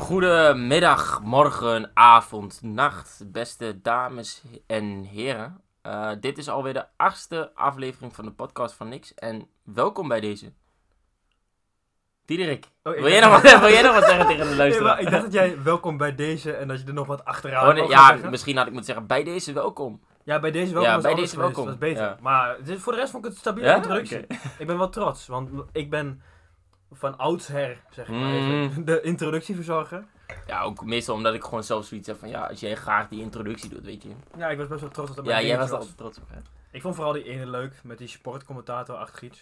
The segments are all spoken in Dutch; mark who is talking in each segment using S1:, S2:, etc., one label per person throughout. S1: Goedemiddag, morgen, avond, nacht, beste dames en heren. Eh, dit is alweer de achtste aflevering van de podcast van Niks en welkom bij deze. Diederik,
S2: Oh, ik
S1: wil, jij nog wat,
S2: dacht-
S1: wil jij nog wat zeggen tegen de
S2: Nee,
S1: luisteraar?
S2: maar ik dacht dat jij welkom bij deze en dat je er nog wat achteraan
S1: Oh, nee,
S2: wou gaan
S1: ja,
S2: zeggen.
S1: misschien had ik moeten zeggen, bij deze welkom.
S2: ja, bij deze welkom
S1: Ja,
S2: was
S1: bij
S2: alles
S1: deze
S2: geweest.
S1: welkom.
S2: Dat is beter.
S1: Ja.
S2: Maar dit, voor de rest vond ik het een stabiele
S1: Ja?
S2: introductie. Ik ben wel trots, want ik ben van oudsher, zeg ik maar
S1: Mm.
S2: even, de introductieverzorger.
S1: Ja, ook meestal omdat ik gewoon zelf zoiets heb van, ja, als jij graag die introductie doet, weet je.
S2: Ja, Oh, ik was best wel trots dat dat
S1: Ja,
S2: mijn
S1: jij was
S2: dingetje
S1: er altijd trots op, hè?
S2: Ik vond vooral die ene leuk, met die sportcommentator achter iets.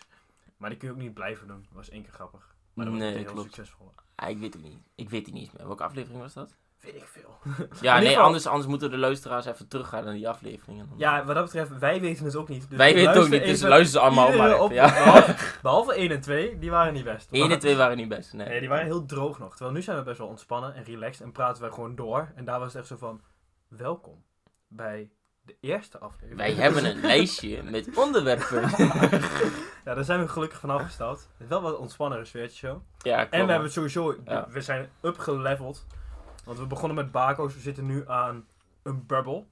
S2: Maar die kun je ook niet blijven doen. Dat was één keer grappig. Maar dat was
S1: Nee,
S2: niet heel
S1: klopt.
S2: succesvol.
S1: Ah, ik weet het niet. Ik weet het niet eens meer. Welke aflevering was dat?
S2: Weet ik veel.
S1: Ja, nee,
S2: geval-
S1: anders, anders moeten de luisteraars even teruggaan naar die afleveringen.
S2: Ja, wat dat betreft, wij weten het ook niet. Dus
S1: Wij weten het ook
S2: luister
S1: niet, dus
S2: even
S1: luister ze allemaal
S2: iedereen
S1: maar even,
S2: op,
S1: ja.
S2: behalve, behalve 1 en 2, die waren niet best.
S1: 1 en 2 waren niet best, nee.
S2: Nee, die waren heel droog nog. Terwijl nu zijn we best wel ontspannen en relaxed en praten wij gewoon door. En daar was het echt zo van, welkom bij de eerste aflevering.
S1: Wij hebben een lijstje met onderwerpen.
S2: Ja, daar zijn we gelukkig van afgestapt. Het is wel wat een ontspannere sfeertje zo.
S1: ja, klopt.
S2: En we hebben het sowieso,
S1: Ja.
S2: we zijn upgeleveld. Want we begonnen met bako's, we zitten nu aan een bubble.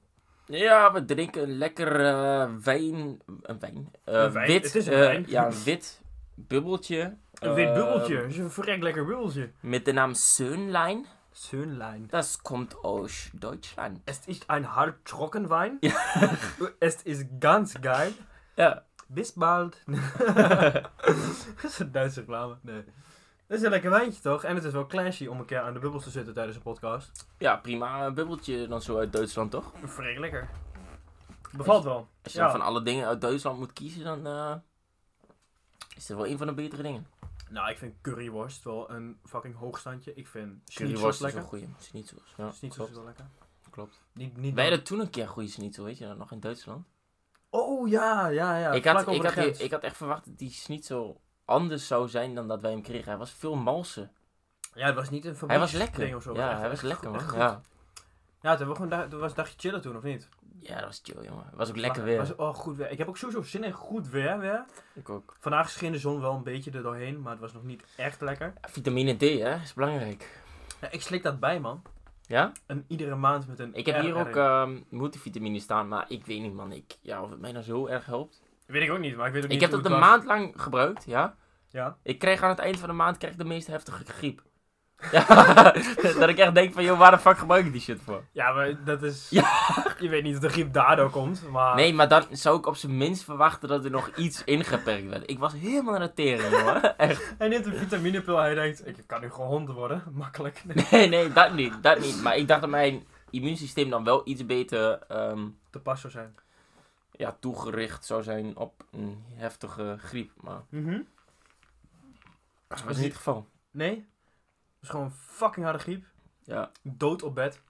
S1: Ja, we drinken een lekker eh, wijn. Een wijn? Eh,
S2: Een wijn,
S1: Wit,
S2: het is een
S1: eh,
S2: wijn.
S1: ja, een wit bubbeltje.
S2: Een wit
S1: eh,
S2: bubbeltje, dat is een verrek lekker bubbeltje.
S1: Met de naam Sönlein.
S2: Sunline.
S1: Dat komt uit Duitsland.
S2: Es ist ein hart trocken Wein. es ist ganz geil.
S1: Ja.
S2: Bis bald. dat is een Duitse reclame. Nee. Dat is een lekker wijntje toch? En het is wel classy om een keer aan de bubbels te zitten tijdens een podcast.
S1: ja, prima. Een bubbeltje dan zo uit Duitsland, toch?
S2: Vrij lekker. Bevalt wel.
S1: Als je
S2: Ja.
S1: dan van alle dingen uit Duitsland moet kiezen, dan eh, is dat wel een van de betere dingen.
S2: Nou, ik vind curryworst wel een fucking hoogstandje. Ik vind
S1: Curryworst
S2: schnitzel
S1: is een
S2: lekker.
S1: goeie. Schnitzel. Ja,
S2: Schnitzel is wel lekker.
S1: Klopt.
S2: Niet, niet
S1: Wij hadden toen een keer een goede schnitzel, weet je dat nog, in Duitsland.
S2: Oh ja, ja, ja.
S1: ik, had,
S2: Vlak
S1: ik,
S2: over de
S1: had,
S2: grens.
S1: ik had echt verwacht dat die schnitzel anders zou zijn dan dat wij hem kregen. Hij was veel malser.
S2: Ja, het was niet een
S1: Hij was
S2: fabrieksding
S1: lekker.
S2: of zo.
S1: ja,
S2: Echt-
S1: hij was
S2: echt
S1: lekker,
S2: goed,
S1: man.
S2: echt goed.
S1: Ja.
S2: Ja, toen hebben we gewoon daar- toen was een dagje chillen toen, of niet?
S1: ja, dat was chill, jongen. Het was ook lekker
S2: Maar-
S1: weer.
S2: Was, oh, goed weer. Ik heb ook sowieso zin in goed weer weer.
S1: Ik ook.
S2: Vandaag scheen de zon wel een beetje er doorheen, maar het was nog niet echt lekker.
S1: Ja, vitamine D, hè, is belangrijk.
S2: Ja, ik slik dat bij, man.
S1: Ja?
S2: En iedere maand met een
S1: Ik heb
S2: R
S1: hier ook
S2: erin.
S1: ehm multivitamine staan, maar ik weet niet, man. Ik, ja, of het mij nou zo erg helpt.
S2: Weet ik ook niet, maar ik weet ook
S1: Ik
S2: niet
S1: heb
S2: hoe
S1: dat een
S2: het was.
S1: maand lang gebruikt, ja.
S2: Ja.
S1: Ik kreeg aan het eind van de maand krijg ik de meest heftige griep. Ja, dat ik echt denk van, joh, waar de fuck gebruik ik die shit voor?
S2: ja, maar dat is... Je weet niet of de griep daardoor komt, maar...
S1: Nee, maar dan zou ik op zijn minst verwachten dat er nog iets ingeperkt werd. Ik was helemaal aan het teren, jongen. Echt.
S2: Hij neemt een vitaminepil en hij denkt, ik kan nu gewond worden. Makkelijk. Nee.
S1: Nee, nee, dat niet. Dat niet. Maar ik dacht dat mijn immuunsysteem dan wel iets beter ehm,
S2: Te pas zou zijn.
S1: ja, toegericht zou zijn op een heftige griep. Maar Mhm. dat
S2: Ah,
S1: was niet het geval.
S2: Nee. Het is gewoon een fucking harde griep.
S1: Ja.
S2: Dood op bed.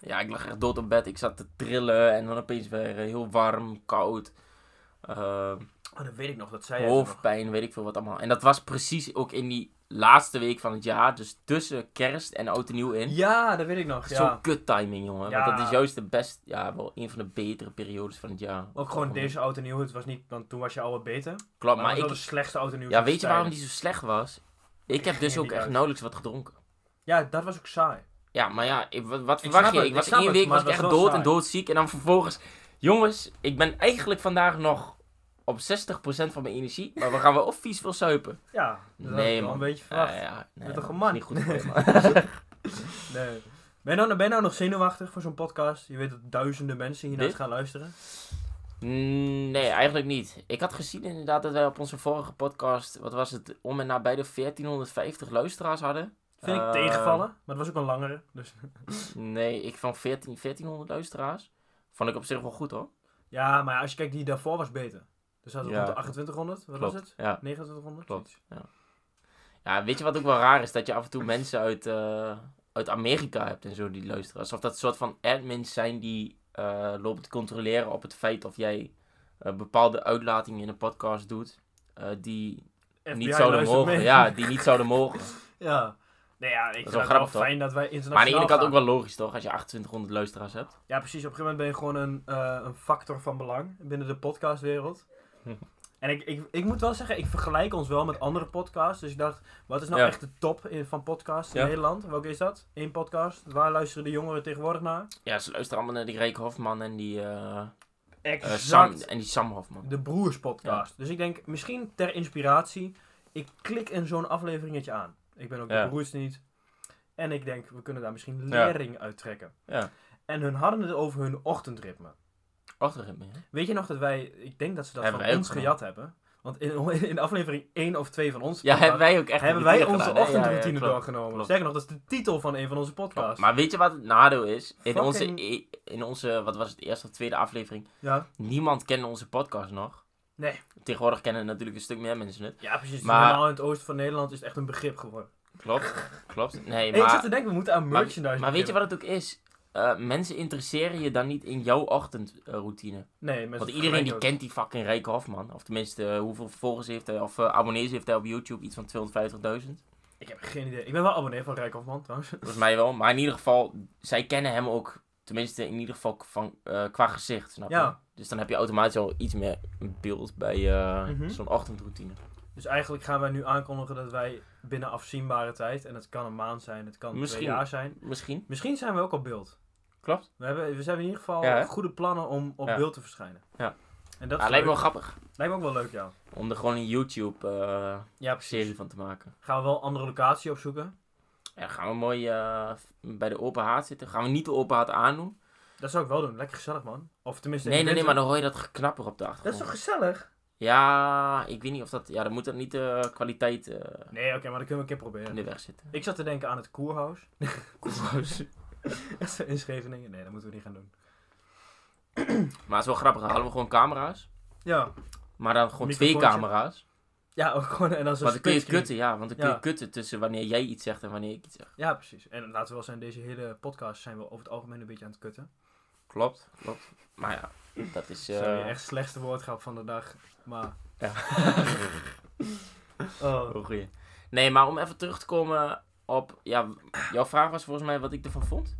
S1: ja, ik lag echt dood op bed. Ik zat te trillen en dan opeens weer eh, heel warm, koud. Ehm,
S2: Oh, dat weet ik nog, dat zei jij toen nog.
S1: hoofdpijn, weet ik veel wat allemaal. En dat was precies ook in die laatste week van het jaar. Dus tussen kerst en oud en nieuw in.
S2: Ja, dat weet ik nog, ja.
S1: Zo'n kut timing, jongen.
S2: Ja.
S1: Want dat is juist de best, ja, wel een van de betere periodes van het jaar.
S2: Ook gewoon deze oud en nieuw, het was niet, want toen was je al wat beter. Maar,
S1: Klopt,
S2: het
S1: Oh, maar
S2: was wel de
S1: ik...
S2: slechtste oud en nieuw.
S1: Ja, weet je waarom die zo slecht was? Ik heb dus
S2: ging
S1: ook
S2: niet
S1: echt
S2: uit.
S1: nauwelijks wat gedronken.
S2: Ja, dat was ook saai.
S1: Ja, maar ja, ik- wat, wat
S2: Ik
S1: verwacht
S2: snap
S1: je?
S2: het,
S1: Ik
S2: ik
S1: was
S2: snap
S1: één
S2: het,
S1: week
S2: maar
S1: was ik
S2: het
S1: echt
S2: was wel
S1: dood en
S2: saai.
S1: doodziek. En dan vervolgens... Jongens, ik ben eigenlijk vandaag nog op 60% van mijn energie. Maar we gaan wel of vies veel suipen.
S2: Ja, dat had ik
S1: Nee,
S2: wel
S1: man.
S2: een beetje verwacht.
S1: Ja, ja, nee,
S2: Met een
S1: man,
S2: geman.
S1: is Niet goed voor je, man.
S2: Nee. Ben je, nou, ben je nou nog zenuwachtig voor zo'n podcast? Je weet dat duizenden mensen hiernaar
S1: Dit?
S2: gaan luisteren.
S1: Mm, Nee, eigenlijk niet. Ik had gezien inderdaad dat wij op onze vorige podcast, wat was het, om en nabij de 1450 luisteraars hadden.
S2: Vind ik
S1: Eh,
S2: tegenvallen, maar het was ook een langere. Dus.
S1: Ehm, Nee, ik vond 14, 1400 luisteraars. Vond ik op zich wel goed hoor.
S2: Ja, maar ja, als je kijkt, die daarvoor was beter. Dus hadden we
S1: Ja.
S2: rond de 2800, wat was het?
S1: Ja.
S2: 2900?
S1: Klopt.
S2: zoiets.
S1: ja, weet je wat ook wel raar is? Dat je af en toe mensen uit, eh, uit Amerika hebt en zo die luisteren. Alsof dat soort van admins zijn die eh, lopen te controleren op het feit of jij eh, bepaalde uitlatingen in een podcast doet. eh, die niet
S2: FBI
S1: zouden
S2: luistert
S1: mogen.
S2: mee.
S1: Ja, die niet zouden mogen.
S2: ja. Nee, ja, ik vind
S1: wel
S2: het wel
S1: grappig, toch?
S2: fijn dat wij internationaal
S1: Maar aan de ene kant
S2: gaan.
S1: ook wel logisch, toch? Als je 2800 luisteraars hebt.
S2: Ja, precies. Op een gegeven moment ben je gewoon een, eh, een factor van belang binnen de podcastwereld. En ik, ik, ik moet wel zeggen, ik vergelijk ons wel met andere podcasts. Dus ik dacht, wat is nou
S1: Ja.
S2: echt de top in, van podcasts in
S1: Ja.
S2: Nederland? Welke is dat? Eén podcast. Waar luisteren de jongeren tegenwoordig naar?
S1: Ja, ze luisteren allemaal naar die Reek Hofman en die, eh, eh, Sam,
S2: Exact.
S1: en die Sam Hofman.
S2: de Broers podcast. Dus ik denk, misschien ter inspiratie, ik klik in zo'n afleveringetje aan. Ik ben ook
S1: Ja.
S2: de broers niet. En ik denk, we kunnen daar misschien
S1: Ja.
S2: lering uit trekken.
S1: Ja.
S2: En hun hadden het over hun ochtendritme.
S1: Ochtendritme, hè?
S2: Weet je nog dat wij, ik denk dat ze dat
S1: Hebben
S2: van
S1: wij ook
S2: ons gejat hebben. Want in, in aflevering 1 of 2 van ons
S1: Ja,
S2: podcast
S1: hebben wij ook echt
S2: hebben
S1: een
S2: wij
S1: routine
S2: onze
S1: gedaan, hè? Ja, ja,
S2: ochtendroutine
S1: klopt.
S2: doorgenomen.
S1: klopt.
S2: Zeker nog, dat is de titel van een van onze podcasts.
S1: Maar weet je wat het nadeel is? In
S2: Fucking-
S1: onze, in onze, wat was het, eerste of tweede aflevering,
S2: ja.
S1: niemand kende onze podcast nog.
S2: Nee.
S1: Tegenwoordig kennen natuurlijk een stuk meer mensen het.
S2: ja, precies.
S1: Maar-
S2: Normaal in het oosten van Nederland is het echt een begrip geworden.
S1: Klopt, klopt. Nee,
S2: Hey, ik zat
S1: maar,
S2: te denken, we moeten aan
S1: maar,
S2: merchandise
S1: maar weet je
S2: beginnen.
S1: wat het ook is? Eh, mensen interesseren je dan niet in jouw ochtendroutine.
S2: Nee, mensen
S1: Want iedereen die
S2: vergelijken
S1: kent die fucking Rijke Hofman. Of tenminste, eh, hoeveel volgers heeft hij, of eh, abonnees heeft hij op YouTube? Iets van 250.000.
S2: Ik heb geen idee. Ik ben wel abonnee van Rijk Hofman trouwens.
S1: Volgens mij wel. Maar in ieder geval, zij kennen hem ook. Tenminste, in ieder geval van, eh, qua gezicht, snap je?
S2: Ja.
S1: Dus dan heb je automatisch al iets meer een beeld bij eh,
S2: Mhm.
S1: zo'n ochtendroutine.
S2: Dus eigenlijk gaan wij nu aankondigen dat wij binnen afzienbare tijd, en het kan een maand zijn, het kan
S1: Misschien.
S2: twee jaar zijn.
S1: Misschien.
S2: Misschien zijn we ook op beeld.
S1: Klopt.
S2: We hebben, we hebben in ieder geval
S1: Ja, hè?
S2: goede plannen om op
S1: Ja.
S2: beeld te verschijnen.
S1: Ja.
S2: En dat
S1: Ah,
S2: is
S1: lijkt me
S2: leuk.
S1: wel grappig.
S2: lijkt me ook wel leuk, ja.
S1: Om er gewoon een YouTube-serie
S2: Ja, precies.
S1: van te maken.
S2: Gaan we wel een andere locatie opzoeken?
S1: Ja, dan gaan we mooi eh, bij de open haard zitten. Gaan we niet de open haard aandoen.
S2: Dat zou ik wel doen. Lekker gezellig, man. Of tenminste... in
S1: Nee,
S2: de
S1: nee, nee, maar
S2: winter.
S1: dan hoor je dat geknapper op de
S2: Dat
S1: achtergrond.
S2: is toch gezellig?
S1: Ja, ik weet niet of dat... Ja, dan moet dat niet de kwaliteit eh,
S2: Nee, oké, maar dat kunnen we
S1: in
S2: een keer proberen.
S1: de weg zitten.
S2: Ik zat te denken aan het Koerhuis.
S1: maar
S2: in Scheveningen. Nee, dat moeten we niet gaan doen.
S1: het is wel grappig. Dan hadden we gewoon camera's.
S2: Ja.
S1: Maar dan gewoon twee
S2: Microfoontje.
S1: camera's.
S2: Ja, ook gewoon... En dan zo'n
S1: Want dan kun je het
S2: splitscreen.
S1: kutten, ja. Want dan kun je
S2: Ja.
S1: kutten tussen wanneer jij iets zegt en wanneer ik iets zeg.
S2: Ja, precies. En laten we wel zijn, deze hele podcast zijn we over het algemeen een beetje aan het kutten.
S1: Klopt, klopt. Maar ja, dat is... eh,
S2: Sorry, echt slechtste woordgrap van de dag. Maar...
S1: Ja.
S2: oh.
S1: wel goeie. Nee, maar om even terug te komen op... Ja, jouw vraag was volgens mij wat ik ervan vond.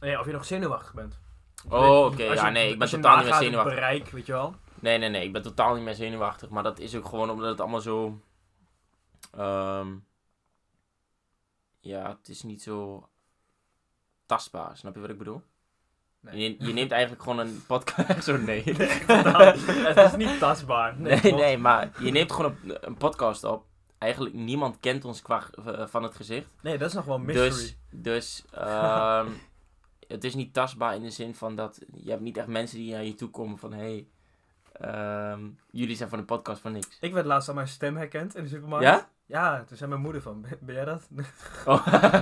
S2: Nee, of je nog zenuwachtig bent.
S1: Oh, oké.
S2: Als je-
S1: Ja, nee, ik ben
S2: als je
S1: totaal niet meer
S2: nagaat het
S1: zenuwachtig.
S2: bereik, weet je wel.
S1: Nee, nee, nee. Ik ben totaal niet meer zenuwachtig. Maar dat is ook gewoon omdat het allemaal zo... ehm, ja, het is niet zo tastbaar. Snap je wat ik bedoel?
S2: Nee.
S1: Je, je neemt eigenlijk gewoon een podcast... zo, nee.
S2: Totaal. het is niet tastbaar.
S1: Nee, nee,
S2: klopt.
S1: maar je neemt gewoon een, een podcast op. Eigenlijk niemand kent ons qua, eh, van het gezicht.
S2: Nee, dat is nog wel een mystery.
S1: Dus, dus ehm, het is niet tastbaar in de zin van dat je hebt niet echt mensen die naar je toe komen van hey, ehm, jullie zijn van de podcast van niks.
S2: Ik werd laatst aan mijn stem herkend in de supermarkt.
S1: Ja?
S2: Ja, toen zei mijn moeder van, ben ben jij dat?
S1: Oh.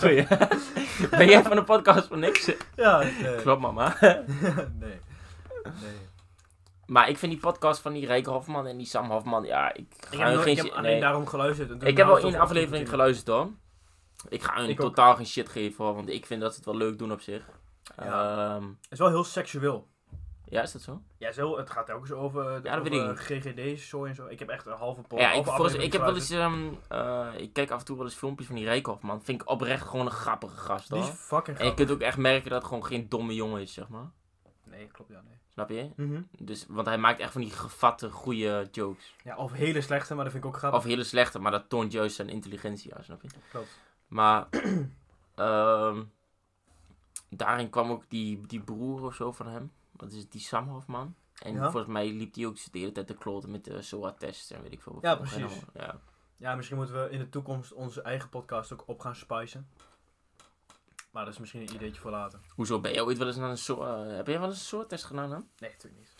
S1: Sorry. ben jij van de podcast van niks?
S2: ja, nee.
S1: Klopt mama.
S2: nee. Nee.
S1: Maar ik vind die podcast van die Rijk Hofman en die Sam Hofman, ja, ik ga hun
S2: Ik heb, nooit-
S1: Ah, geen
S2: ik heb
S1: shit-
S2: alleen
S1: nee.
S2: daarom geluisterd. en toen
S1: Ik heb wel
S2: later
S1: één
S2: nou toch-
S1: aflevering geluisterd hoor. Ik ga hun
S2: Ik ook.
S1: totaal geen shit geven hoor, want ik vind dat ze het wel leuk doen op zich.
S2: Ja.
S1: Ja,
S2: Het is wel heel seksueel.
S1: ja is dat zo?
S2: Ja, zo, het gaat telkens over, de
S1: Ja, dat weet ik
S2: GGD, zo en zo. Ik heb echt een halve pot.
S1: ja, ik, volgens- ik heb wel eens. ehm, eh, ik kijk af en toe wel eens filmpjes van die Rijkoff, man. Vind ik oprecht gewoon een grappige gast
S2: Die
S1: hoor.
S2: is fucking
S1: En je
S2: grappig.
S1: kunt ook echt merken dat het gewoon geen domme jongen is, zeg maar.
S2: Nee, klopt, ja, nee.
S1: Snap je? Dus, want hij maakt echt van die gevatte, goede jokes.
S2: Ja, of hele slechte, maar dat vind ik ook grappig.
S1: Of hele slechte, maar dat toont juist zijn intelligentie aan, snap je?
S2: Klopt.
S1: Maar ehm, daarin kwam ook die, die broer of zo van hem. Wat is het, die Sam Hofman. En
S2: Ja.
S1: volgens mij liep die ook de hele tijd te kloten met de SOA-tests en weet ik veel. wat.
S2: Ja, precies.
S1: Ja.
S2: Ja, misschien moeten we in de toekomst onze eigen podcast ook op gaan spicen. Maar dat is misschien een ideetje voor later.
S1: Hoezo, ben jij ooit wel eens naar een SOA... heb jij wel eens een SOA-test gedaan dan?
S2: Nee, natuurlijk niet.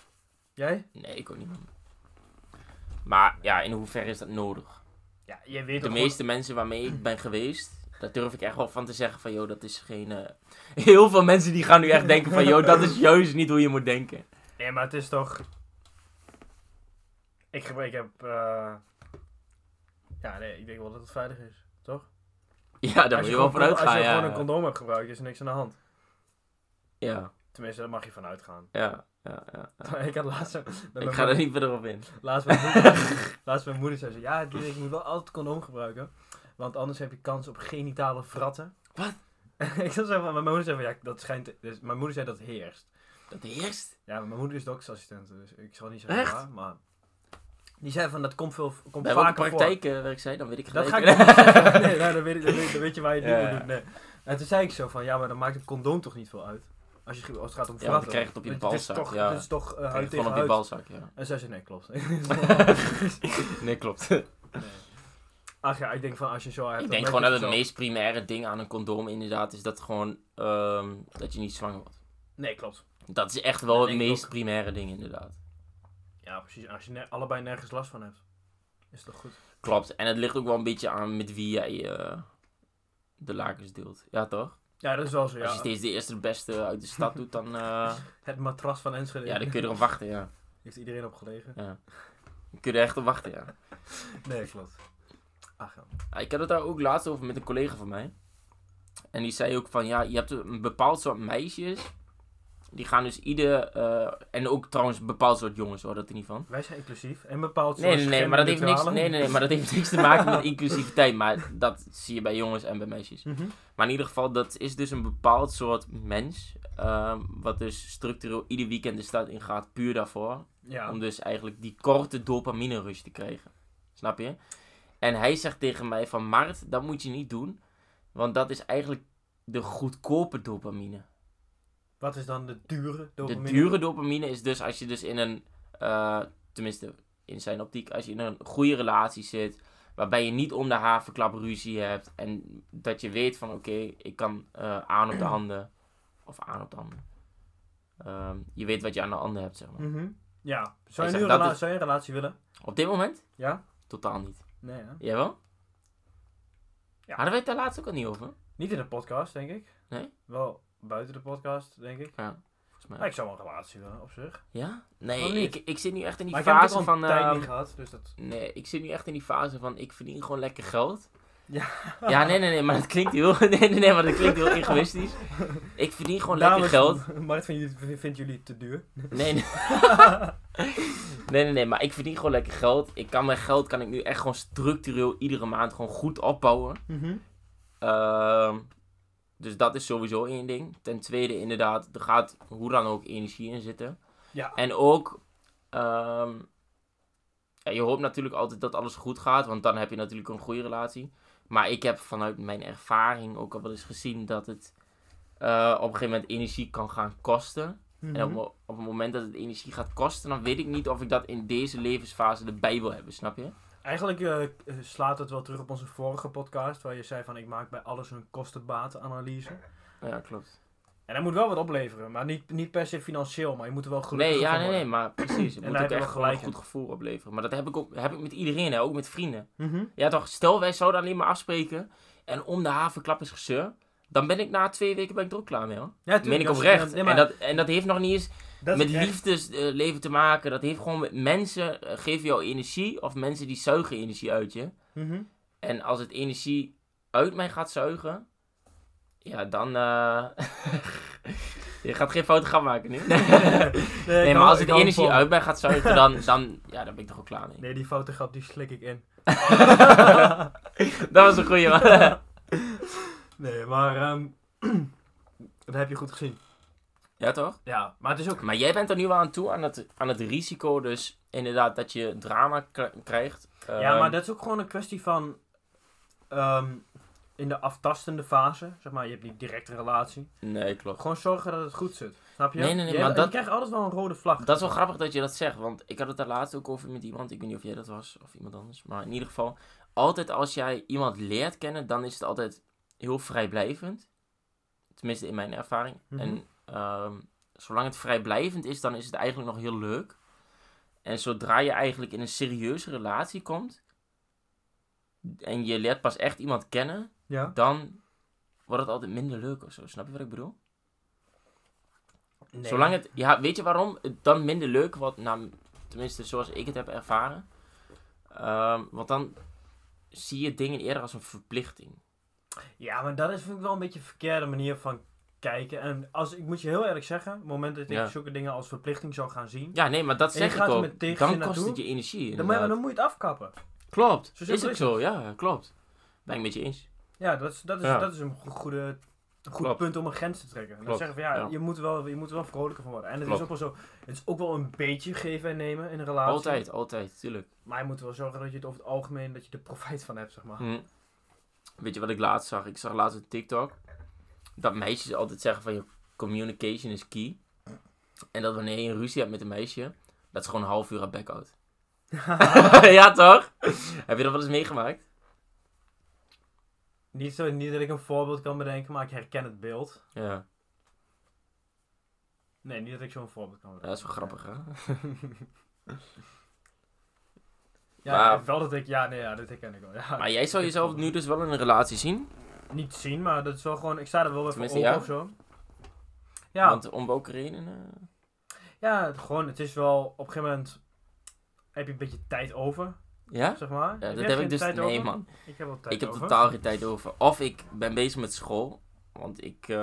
S2: Jij?
S1: Nee, ik ook niet. man. Maar ja, in hoeverre is dat nodig?
S2: Ja, jij weet
S1: De
S2: toch
S1: meeste mensen waarmee ik ben geweest, daar durf ik echt wel van te zeggen van... ...joh, dat is geen... eh, Heel veel mensen die gaan nu echt denken van... ...joh, dat is juist niet hoe je moet denken.
S2: gewoon- Nee, maar het is toch... Ik, gebruik- ik heb... eh, Ja, nee, ik denk wel dat het veilig is. Toch?
S1: Ja, daar
S2: Als
S1: moet je wel
S2: gewoon-
S1: vanuit gaan,
S2: Als je
S1: ja.
S2: gewoon een condoom hebt gebruikt, is er niks aan de hand.
S1: Ja,
S2: Tenminste, daar mag je van uitgaan.
S1: ja, ja, ja.
S2: Ik had laatst... dat mijn
S1: Ik ga er
S2: moeder-
S1: niet verder op in.
S2: Laatst mijn moeder, laatst mijn moeder zei ze... Ja, Dirk, ik moet wel altijd condoom gebruiken. Want anders heb je kans op genitale fratten.
S1: Wat?
S2: ik zou zeggen, maar mijn moeder zei van... Ja, dat schijnt... dus mijn moeder zei dat heerst.
S1: Dat heerst.
S2: Ja, maar mijn moeder is doktersassistent, dus ik zal niet zeggen
S1: Echt?
S2: waar, maar... Die zei van, dat komt, veel, komt
S1: Bij welke
S2: vaker voor.
S1: praktijk eh, werkt zij? Dan weet ik
S2: Dat ga ik
S1: gelijk.
S2: niet zeggen. Nee, nou, dan, weet, dan, weet, dan weet je waar je het
S1: Ja,
S2: niet
S1: ja.
S2: moet doen. Nee. En toen zei ik zo van, ja, maar dan maakt een condoom toch niet veel uit? Als, je, als het gaat om
S1: Ja, want dan
S2: verratten.
S1: krijg je het op je
S2: Want
S1: balzak.
S2: Het is toch,
S1: ja.
S2: het is toch eh,
S1: Krijg je
S2: huid
S1: het gewoon
S2: tegen
S1: op je
S2: huid.
S1: balzak, ja.
S2: En zij zei, nee, klopt.
S1: Nee, klopt.
S2: Ach ja, ik denk van, als je zo...
S1: Ik denk gewoon dat het meest primaire ding aan een condoom inderdaad is dat gewoon ehm, dat je niet zwanger wordt.
S2: Nee, klopt.
S1: Dat is echt wel
S2: Dat
S1: het
S2: denk ik
S1: meest
S2: ook.
S1: primaire ding inderdaad.
S2: Ja, precies. Als je ne- allebei nergens last van hebt, is het toch goed?
S1: Klopt. En het ligt ook wel een beetje aan met wie jij eh, de lakens deelt. Ja, toch?
S2: Ja, dat is wel zo,
S1: Als je
S2: ja.
S1: steeds de eerste de beste uit de stad doet, dan, eh,
S2: Het matras van Enschede.
S1: ja, dan kun je erop wachten, ja.
S2: Heeft iedereen op gelegen?
S1: ja. Dan kun je er echt op wachten, ja.
S2: Nee, klopt. Ach ja.
S1: Ah, Ik had het daar ook laatst over met een collega van mij. En die zei ook van, ja, je hebt een bepaald soort meisjes. Die gaan dus ieder, eh, en ook trouwens een bepaald soort jongens hoor, dat er niet van.
S2: Wij zijn inclusief en bepaald
S1: Nee, nee,
S2: soort
S1: nee, maar dat heeft niks,
S2: genderritualen.
S1: nee, nee, nee, maar dat heeft niks te maken met inclusiviteit. Maar dat zie je bij jongens en bij meisjes.
S2: Mhm.
S1: Maar in ieder geval, dat is dus een bepaald soort mens. ehm, wat dus structureel ieder weekend de stad ingaat, puur daarvoor.
S2: Ja.
S1: Om dus eigenlijk die korte dopamine rush te krijgen. Snap je? En hij zegt tegen mij van, Mart, dat moet je niet doen. Want dat is eigenlijk de goedkope dopamine.
S2: Wat is dan de dure dopamine?
S1: De dure dopamine is dus als je dus in een, eh, tenminste in zijn optiek, als je in een goede relatie zit, waarbij je niet om de havenklap ruzie hebt en dat je weet van oké, ik kan eh, aan op de handen, of aan op de handen. Ehm, je weet wat je aan de handen hebt, zeg maar.
S2: Mhm. Ja. Zou
S1: zeg,
S2: je, nu een
S1: dat
S2: rela-
S1: is-
S2: zou je een relatie willen?
S1: Op dit moment?
S2: Ja?
S1: Totaal niet.
S2: Nee, hè?
S1: Jij wel?
S2: Ja.
S1: Hadden wij het daar laatst ook al niet over?
S2: Niet in de podcast, denk ik.
S1: Nee?
S2: Wel buiten de podcast, denk ik.
S1: Ja, volgens
S2: Maar
S1: mij.
S2: ik zou wel een relatie willen, op zich.
S1: Ja? Nee,
S2: Waarom niet?
S1: ik, ik zit nu echt in die
S2: Maar ik heb het
S1: fase
S2: al
S1: van...
S2: een tijd
S1: ehm,
S2: niet gehad, dus dat...
S1: Nee, ik zit nu echt in die fase van ik verdien gewoon lekker geld.
S2: Ja.
S1: Ja, nee, nee, nee, maar dat klinkt heel, nee, nee, nee, maar dat klinkt heel egoïstisch. Ik verdien gewoon Oh, lekker geld.
S2: Markt van jullie, vindt jullie te duur?
S1: Nee, nee. nee, nee, nee, maar ik verdien gewoon lekker geld. Ik kan mijn geld kan ik nu echt gewoon structureel iedere maand gewoon goed opbouwen. Ehm, dus dat is sowieso één ding. Ten tweede, inderdaad, er gaat hoe dan ook energie in zitten.
S2: Ja.
S1: En ook, ehm, ja, je hoopt natuurlijk altijd dat alles goed gaat, want dan heb je natuurlijk een goede relatie. Maar ik heb vanuit mijn ervaring ook al wel eens gezien dat het eh, op een gegeven moment energie kan gaan kosten. En op, mo- op het moment dat het energie gaat kosten, dan weet ik niet of ik dat in deze levensfase erbij wil hebben, snap je?
S2: Eigenlijk eh, slaat het wel terug op onze vorige podcast, waar je zei van ik maak bij alles een kostenbatenanalyse.
S1: Ja, klopt.
S2: En dat moet wel wat opleveren, maar niet, niet per se financieel, maar je moet er wel gelukkig
S1: Nee, ja,
S2: van
S1: nee, nee,
S2: worden.
S1: maar precies. Het
S2: En
S1: moet
S2: daar
S1: ook
S2: heb je
S1: echt
S2: wel
S1: gewoon een
S2: gelijk
S1: goed gevoel opleveren. Maar dat heb ik, ook, heb ik met iedereen, hè, ook met vrienden.
S2: Mhm.
S1: Ja, toch, stel wij zouden alleen maar afspreken en om de havenklap is gezeur. Dan ben ik na twee weken ben ik er ook klaar mee, hoor.
S2: Ja,
S1: Dat meen
S2: tuurlijk,
S1: ik
S2: als-
S1: oprecht.
S2: nee, maar
S1: en, dat, en dat heeft nog niet eens
S2: dat
S1: met
S2: is echt-
S1: liefdesleven te maken. Dat heeft gewoon met mensen eh, geven jou energie of mensen die zuigen energie uit je.
S2: Mhm.
S1: En als het energie uit mij gaat zuigen, ja, dan. eh, je gaat geen foto gaan maken nu.
S2: ik
S1: nee, maar
S2: hou-
S1: als het
S2: hou
S1: energie
S2: van-
S1: uit mij gaat zuigen, dan, dan, ja, dan ben ik er ook klaar mee.
S2: Nee, die fotograaf die slik ik in.
S1: Dat was een goeie man.
S2: Nee, maar ehm, dat heb je goed gezien.
S1: Ja, toch?
S2: Ja, maar het is ook...
S1: Maar jij bent er nu wel aan toe aan het, aan het risico, dus inderdaad, dat je drama k- krijgt.
S2: Ja,
S1: Ehm,
S2: maar dat is ook gewoon een kwestie van... ehm, in de aftastende fase, zeg maar, je hebt niet direct een relatie.
S1: Ehm, Nee, klopt.
S2: Gewoon zorgen dat het goed zit. Snap je?
S1: Nee, nee, nee,
S2: Je-
S1: maar
S2: je
S1: dat-
S2: krijgt altijd wel een rode vlag.
S1: Dat is wel grappig dat je dat zegt, want ik had het daar laatst ook over met iemand. Ik weet niet of jij dat was of iemand anders. Maar in ieder geval, altijd als jij iemand leert kennen, dan is het altijd heel vrijblijvend. Tenminste, in mijn ervaring.
S2: Mhm.
S1: En ehm, zolang het vrijblijvend is, dan is het eigenlijk nog heel leuk. En zodra je eigenlijk in een serieuze relatie komt en je leert pas echt iemand kennen,
S2: Ja.
S1: dan wordt het altijd minder leuk of zo. Snap je wat ik bedoel?
S2: Nee.
S1: Zolang het, ja, weet je waarom? Het dan minder leuk wordt, nou, tenminste zoals ik het heb ervaren. Ehm, want dan zie je dingen eerder als een verplichting.
S2: Ja, maar dat is vind ik wel een beetje een verkeerde manier van kijken. En als, ik moet je heel eerlijk zeggen, op het moment dat ik
S1: Ja.
S2: zulke dingen als verplichting zou gaan zien...
S1: Ja, nee, maar dat
S2: En je
S1: zeg ik
S2: gaat er
S1: ook.
S2: met tegenzin
S1: Dan kost
S2: naartoe?
S1: het je energie.
S2: Dan moet, je,
S1: inderdaad.
S2: dan moet je het afkappen.
S1: Klopt.
S2: Zo
S1: is
S2: simpel
S1: het
S2: is
S1: zo? Ja, klopt. Ben ik met je eens.
S2: Ja, dat is, dat is,
S1: Ja.
S2: Dat is een go- goede een goed
S1: Klopt.
S2: punt om een grens te trekken. En dan
S1: Klopt,
S2: zeggen van ja,
S1: ja.
S2: Je, moet wel, je moet er wel vrolijker van worden. En het is,
S1: Klopt.
S2: ook wel zo, het is ook wel een beetje geven en nemen in een relatie.
S1: Altijd, altijd, tuurlijk.
S2: Maar je moet wel zorgen dat je het over het algemeen, dat je er profijt van hebt, zeg maar.
S1: Hm. Weet je wat ik laatst zag? Ik zag laatst een TikTok. Dat meisjes altijd zeggen van je communication is key. En dat wanneer je een ruzie hebt met een meisje, dat is gewoon een half uur aan back-out. ja toch? Heb je dat wel eens meegemaakt?
S2: Niet, zo, niet dat ik een voorbeeld kan bedenken, maar ik herken het beeld.
S1: Ja.
S2: Nee, niet dat ik zo'n voorbeeld kan bedenken.
S1: Dat is wel grappig hè?
S2: Ja,
S1: Maar-
S2: wel dat ik, ja, nee, ja, dit herken ik wel. Ja.
S1: Maar jij zou jezelf nu dus wel in een relatie zien.
S2: Niet zien, maar dat is wel gewoon, ik sta er wel weer voor open
S1: Tenminste, ja.
S2: of zo. Ja,
S1: Want om welke redenen?
S2: ja, het- gewoon, het is wel, op een gegeven moment heb je een beetje tijd over,
S1: Ja?
S2: zeg maar.
S1: Ja,
S2: jij
S1: dat heb
S2: geen
S1: ik dus.
S2: tijd
S1: Nee,
S2: over?
S1: man.
S2: Ik heb wel tijd
S1: Ik heb
S2: over.
S1: totaal geen tijd over. Of ik ben bezig met school. Want ik eh,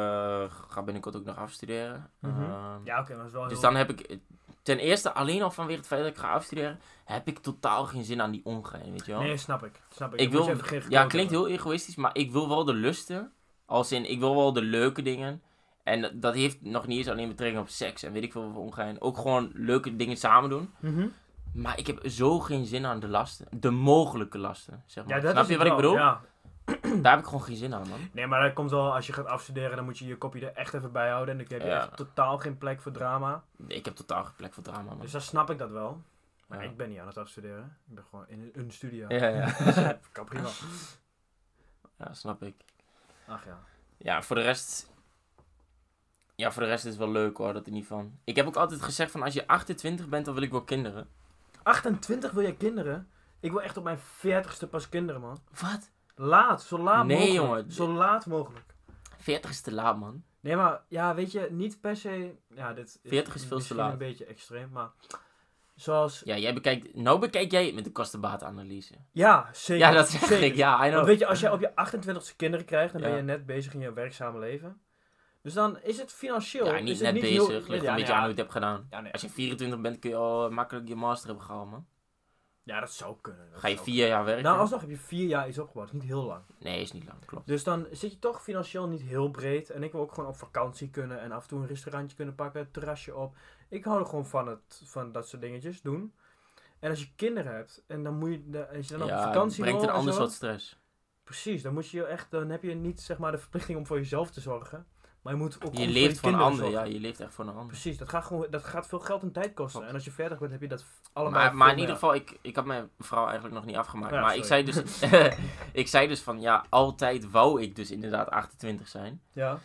S1: ga binnenkort ook nog afstuderen.
S2: Mhm.
S1: Ehm,
S2: Ja, oké, maar dat is wel
S1: Dus
S2: heel-
S1: dan heb ik, ten eerste, alleen al vanwege het feit dat ik ga afstuderen, heb ik totaal geen zin aan die ongein, weet je wel.
S2: Nee, snap ik. Snap ik.
S1: ik
S2: Dan moet
S1: wil,
S2: je even geen
S1: ja,
S2: geduld
S1: klinkt
S2: hebben.
S1: heel egoïstisch, maar ik wil wel de lusten, als in, ik wil wel de leuke dingen. En dat- dat heeft nog niet eens alleen betrekking op seks en weet ik veel voor ongein. Ook gewoon leuke dingen samen doen.
S2: Mhm.
S1: Maar ik heb zo geen zin aan de lasten, de mogelijke lasten, zeg maar.
S2: Ja, dat
S1: Snap
S2: is
S1: je
S2: het
S1: wat ik
S2: wel,
S1: bedoel?
S2: Ja.
S1: Daar heb ik gewoon geen zin aan, man.
S2: Nee, maar dat komt wel, als je gaat afstuderen, dan moet je je kopje er echt even bij houden. En dan heb je
S1: Ja.
S2: echt totaal geen plek voor drama.
S1: Ik heb totaal geen plek voor drama, man.
S2: Dus dan snap ik dat wel. Maar
S1: Ja.
S2: ik ben niet aan het afstuderen. Ik ben gewoon in een, een studio.
S1: Ja, ja.
S2: kan prima.
S1: ja, snap ik.
S2: Ach ja.
S1: Ja, voor de rest. Ja, voor de rest is het wel leuk hoor, dat er niet van. Ik heb ook altijd gezegd van als je 28 bent, dan wil ik wel kinderen.
S2: 28 wil jij kinderen? Ik wil echt op mijn 40ste pas kinderen, man.
S1: Wat?
S2: Laat, zo laat
S1: Nee,
S2: mogelijk.
S1: jongen.
S2: Zo laat mogelijk.
S1: 40 is te laat, man.
S2: Nee, maar ja, weet je, niet per se. Ja, dit
S1: 40 is veel te
S2: misschien
S1: laat.
S2: een beetje extreem, maar. Zoals.
S1: Ja, jij bekijkt. Nou bekijk jij het met de kostenbaatanalyse.
S2: Ja, zeker.
S1: Ja, dat zeg
S2: zeker.
S1: ik. Ja, I
S2: Want
S1: know.
S2: weet je, als jij op je 28ste kinderen krijgt, dan ben
S1: Ja.
S2: je net bezig in je werkzame leven. Dus dan is het financieel.
S1: Ja,
S2: is
S1: niet
S2: het
S1: net
S2: heel-
S1: bezig. Ligt
S2: ja,
S1: een beetje
S2: ja,
S1: aan hoe je het hebt gedaan.
S2: ja, nee.
S1: Als je 24 bent, kun je al eh, makkelijk je master hebben gehaald, man.
S2: ja, dat zou kunnen. dat
S1: Ga je
S2: zou
S1: vier jaar werken?
S2: kunnen. Nou, alsnog heb je vier jaar iets opgebouwd. Dat is Niet heel lang.
S1: Nee, is niet lang, klopt.
S2: Dus dan zit je toch financieel niet heel breed. En ik wil ook gewoon op vakantie kunnen. En af en toe een restaurantje kunnen pakken. Een terrasje op. Ik hou er gewoon van, het, van dat soort dingetjes doen. En als je kinderen hebt. En dan moet je. dan- Als je dan op
S1: Ja, het
S2: vakantie
S1: brengt
S2: wil
S1: een
S2: en
S1: ander
S2: zo,
S1: soort stress.
S2: Precies. Dan, moet je echt, dan heb je niet zeg maar de verplichting om voor jezelf te zorgen. Maar je moet ook. goed
S1: Je
S2: voor
S1: leeft voor een
S2: kinderen
S1: ander, ja,
S2: zorgen.
S1: je leeft echt voor een ander.
S2: Precies, dat gaat, gewoon, dat gaat veel geld en tijd kosten.
S1: Klopt.
S2: En als je 40 bent, heb je dat allemaal.
S1: Maar, maar in ieder geval, ik, ik had mijn vrouw eigenlijk nog niet afgemaakt.
S2: Ja,
S1: maar ik zei,
S2: sorry.
S1: dus, ik zei dus van ja, altijd wou ik dus inderdaad 28 zijn.
S2: Ja,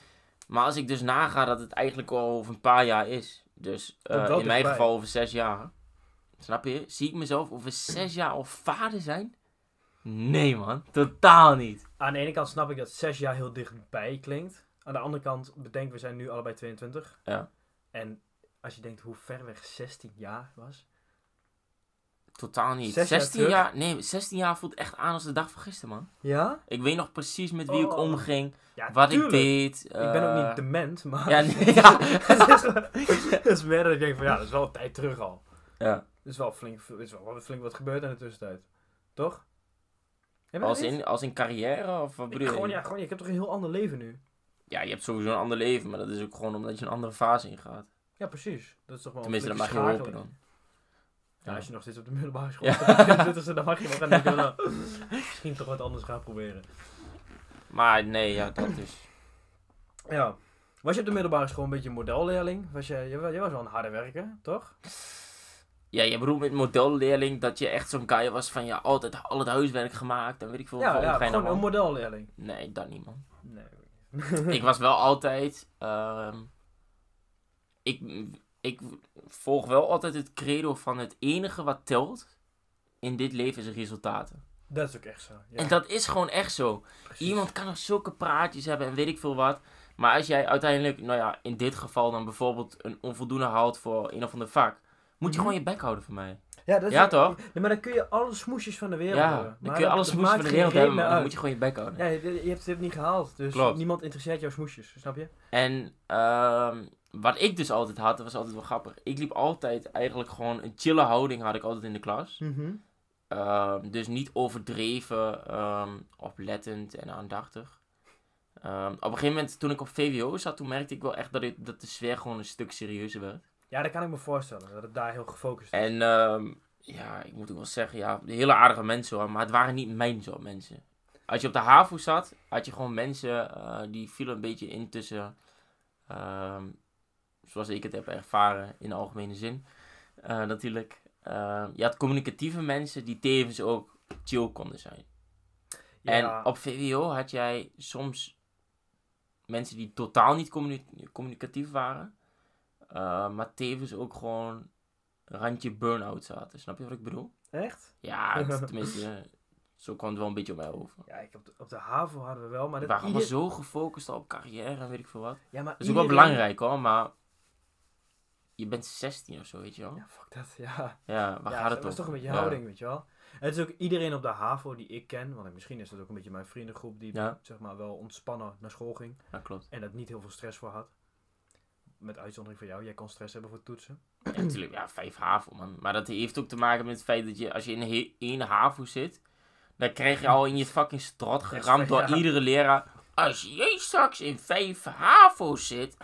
S1: Maar als ik dus naga dat het eigenlijk al over een paar jaar is. Dus eh,
S2: Komt wel
S1: in mijn
S2: dichtbij.
S1: geval over zes jaar. Snap je? Zie ik mezelf over zes jaar al vader zijn? Nee man, totaal niet.
S2: aan de ene kant snap ik dat 6 jaar heel dichtbij klinkt. Aan de andere kant, bedenk, we zijn nu allebei 22.
S1: Ja.
S2: En als je denkt hoe ver weg 16 jaar was.
S1: Totaal niet.
S2: Zes jaar
S1: 16
S2: terug?
S1: jaar, nee, 16 jaar voelt echt aan als de dag van gisteren man.
S2: Ja?
S1: Ik weet nog precies met wie ik
S2: Oh.
S1: omging,
S2: Ja,
S1: wat
S2: tuurlijk.
S1: ik deed.
S2: Ik ben ook
S1: eh,
S2: niet dement, maar.
S1: Ja, nee, ja.
S2: het, is, het is meer dat ik denk van ja, dat is wel een tijd terug al.
S1: ja.
S2: Er is wel flink, veel- er is wel wat- flink wat gebeurd in de tussentijd. Toch? Jij bent
S1: Als
S2: er niet?
S1: in, als in carrière of wat
S2: Ik-
S1: bedoel je?
S2: gewoon, ja, gewoon, ik heb toch een heel ander leven nu?
S1: Ja, je hebt sowieso een ander leven, maar dat is ook gewoon omdat je een andere fase ingaat.
S2: Ja, precies. Dat is toch wel een
S1: Tenminste, dat mag
S2: flinke
S1: je hopen
S2: schakeling.
S1: dan.
S2: Ja,
S1: Ja.
S2: als je nog steeds op de middelbare school
S1: Ja.
S2: zit, dan mag je nog gaan denken, nou, misschien toch wat anders gaan proberen.
S1: Maar nee, ja, dat is.
S2: Ja. Was je op de middelbare school een beetje een modelleerling? Was je, jij, wa- jij was wel een harde werker, toch?
S1: Ja, je bedoelt met modelleerling dat je echt zo'n guy was van ja, altijd al het huiswerk gemaakt en weet ik veel.
S2: ja,
S1: van,
S2: ja
S1: ga je
S2: gewoon
S1: nou aan?
S2: een modelleerling.
S1: Nee, dat niet man.
S2: Nee.
S1: ik was wel altijd. ehm, ik, ik volg wel altijd het credo van het enige wat telt in dit leven is resultaten.
S2: Dat is ook echt zo. Ja,
S1: En dat is gewoon echt zo.
S2: precies.
S1: Iemand kan nog zulke praatjes hebben en weet ik veel wat. Maar als jij uiteindelijk, nou ja, in dit geval dan bijvoorbeeld een onvoldoende haalt voor een of ander vak. Moet je
S2: Mhm.
S1: gewoon je bek houden van mij.
S2: Ja, dat is
S1: Ja,
S2: ook-
S1: toch?
S2: Nee, maar dan kun je alle smoesjes van de wereld
S1: Ja,
S2: hebben.
S1: dan
S2: Maar
S1: kun je
S2: dat-
S1: alles
S2: dat
S1: smoes van
S2: maakt
S1: de
S2: geen
S1: wereld hebben,
S2: reden
S1: maar dan
S2: uit.
S1: moet je gewoon je bek houden.
S2: Ja, je, je hebt dit niet gehaald, dus
S1: Klopt.
S2: niemand interesseert jouw smoesjes, snap je?
S1: En ehm, wat ik dus altijd had, dat was altijd wel grappig. Ik liep altijd eigenlijk gewoon een chille houding had ik altijd in de klas. Ehm, dus niet overdreven, ehm, oplettend en aandachtig. Eh, Ehm, op een gegeven moment, toen ik op VWO zat, toen merkte ik wel echt dat, ik, dat de sfeer gewoon een stuk serieuzer werd.
S2: Ja, dat kan ik me voorstellen. Dat het daar heel gefocust is.
S1: En ehm, ja, ik moet ook wel zeggen, ja, hele aardige mensen hoor, maar het waren niet mijn soort mensen. Als je op de HAVO zat, had je gewoon mensen eh, die vielen een beetje in tussen, ehm, zoals ik het heb ervaren in de algemene zin, eh, natuurlijk. Eh, je had communicatieve mensen die tevens ook chill konden zijn.
S2: Ja,
S1: En op VWO had jij soms mensen die totaal niet communi- communicatief waren, eh, maar tevens ook gewoon randje burn-out zaten. Snap je wat ik bedoel?
S2: Echt?
S1: Ja, het- tenminste, eh, zo kwam het wel een beetje op mij over.
S2: Ja, ik op, de, op de HAVO hadden we wel, maar
S1: We
S2: dat
S1: waren allemaal
S2: ieder-
S1: zo gefocust op carrière en weet ik veel wat.
S2: Ja, maar
S1: Dat is ook wel
S2: iedereen-
S1: belangrijk hoor, maar je bent 16 of zo, weet je wel.
S2: Ja, fuck dat, ja.
S1: Ja, waar
S2: ja,
S1: gaat
S2: dat
S1: het
S2: is
S1: om?
S2: toch een beetje
S1: Ja.
S2: houding, weet je wel. En het is ook iedereen op de HAVO die ik ken, want misschien is dat ook een beetje mijn vriendengroep die
S1: Ja.
S2: zeg maar wel ontspannen naar school ging
S1: Ja, klopt.
S2: en dat niet heel veel stress voor had. Met uitzondering van jou, jij kon stress hebben voor toetsen.
S1: Ja, natuurlijk, ja, vijf HAVO, man. Maar dat heeft ook te maken met het feit dat je, als je in he- één HAVO zit, dan krijg je al in je fucking strot geramd door
S2: Ja.
S1: iedere leraar. Als jij straks in vijf HAVO zit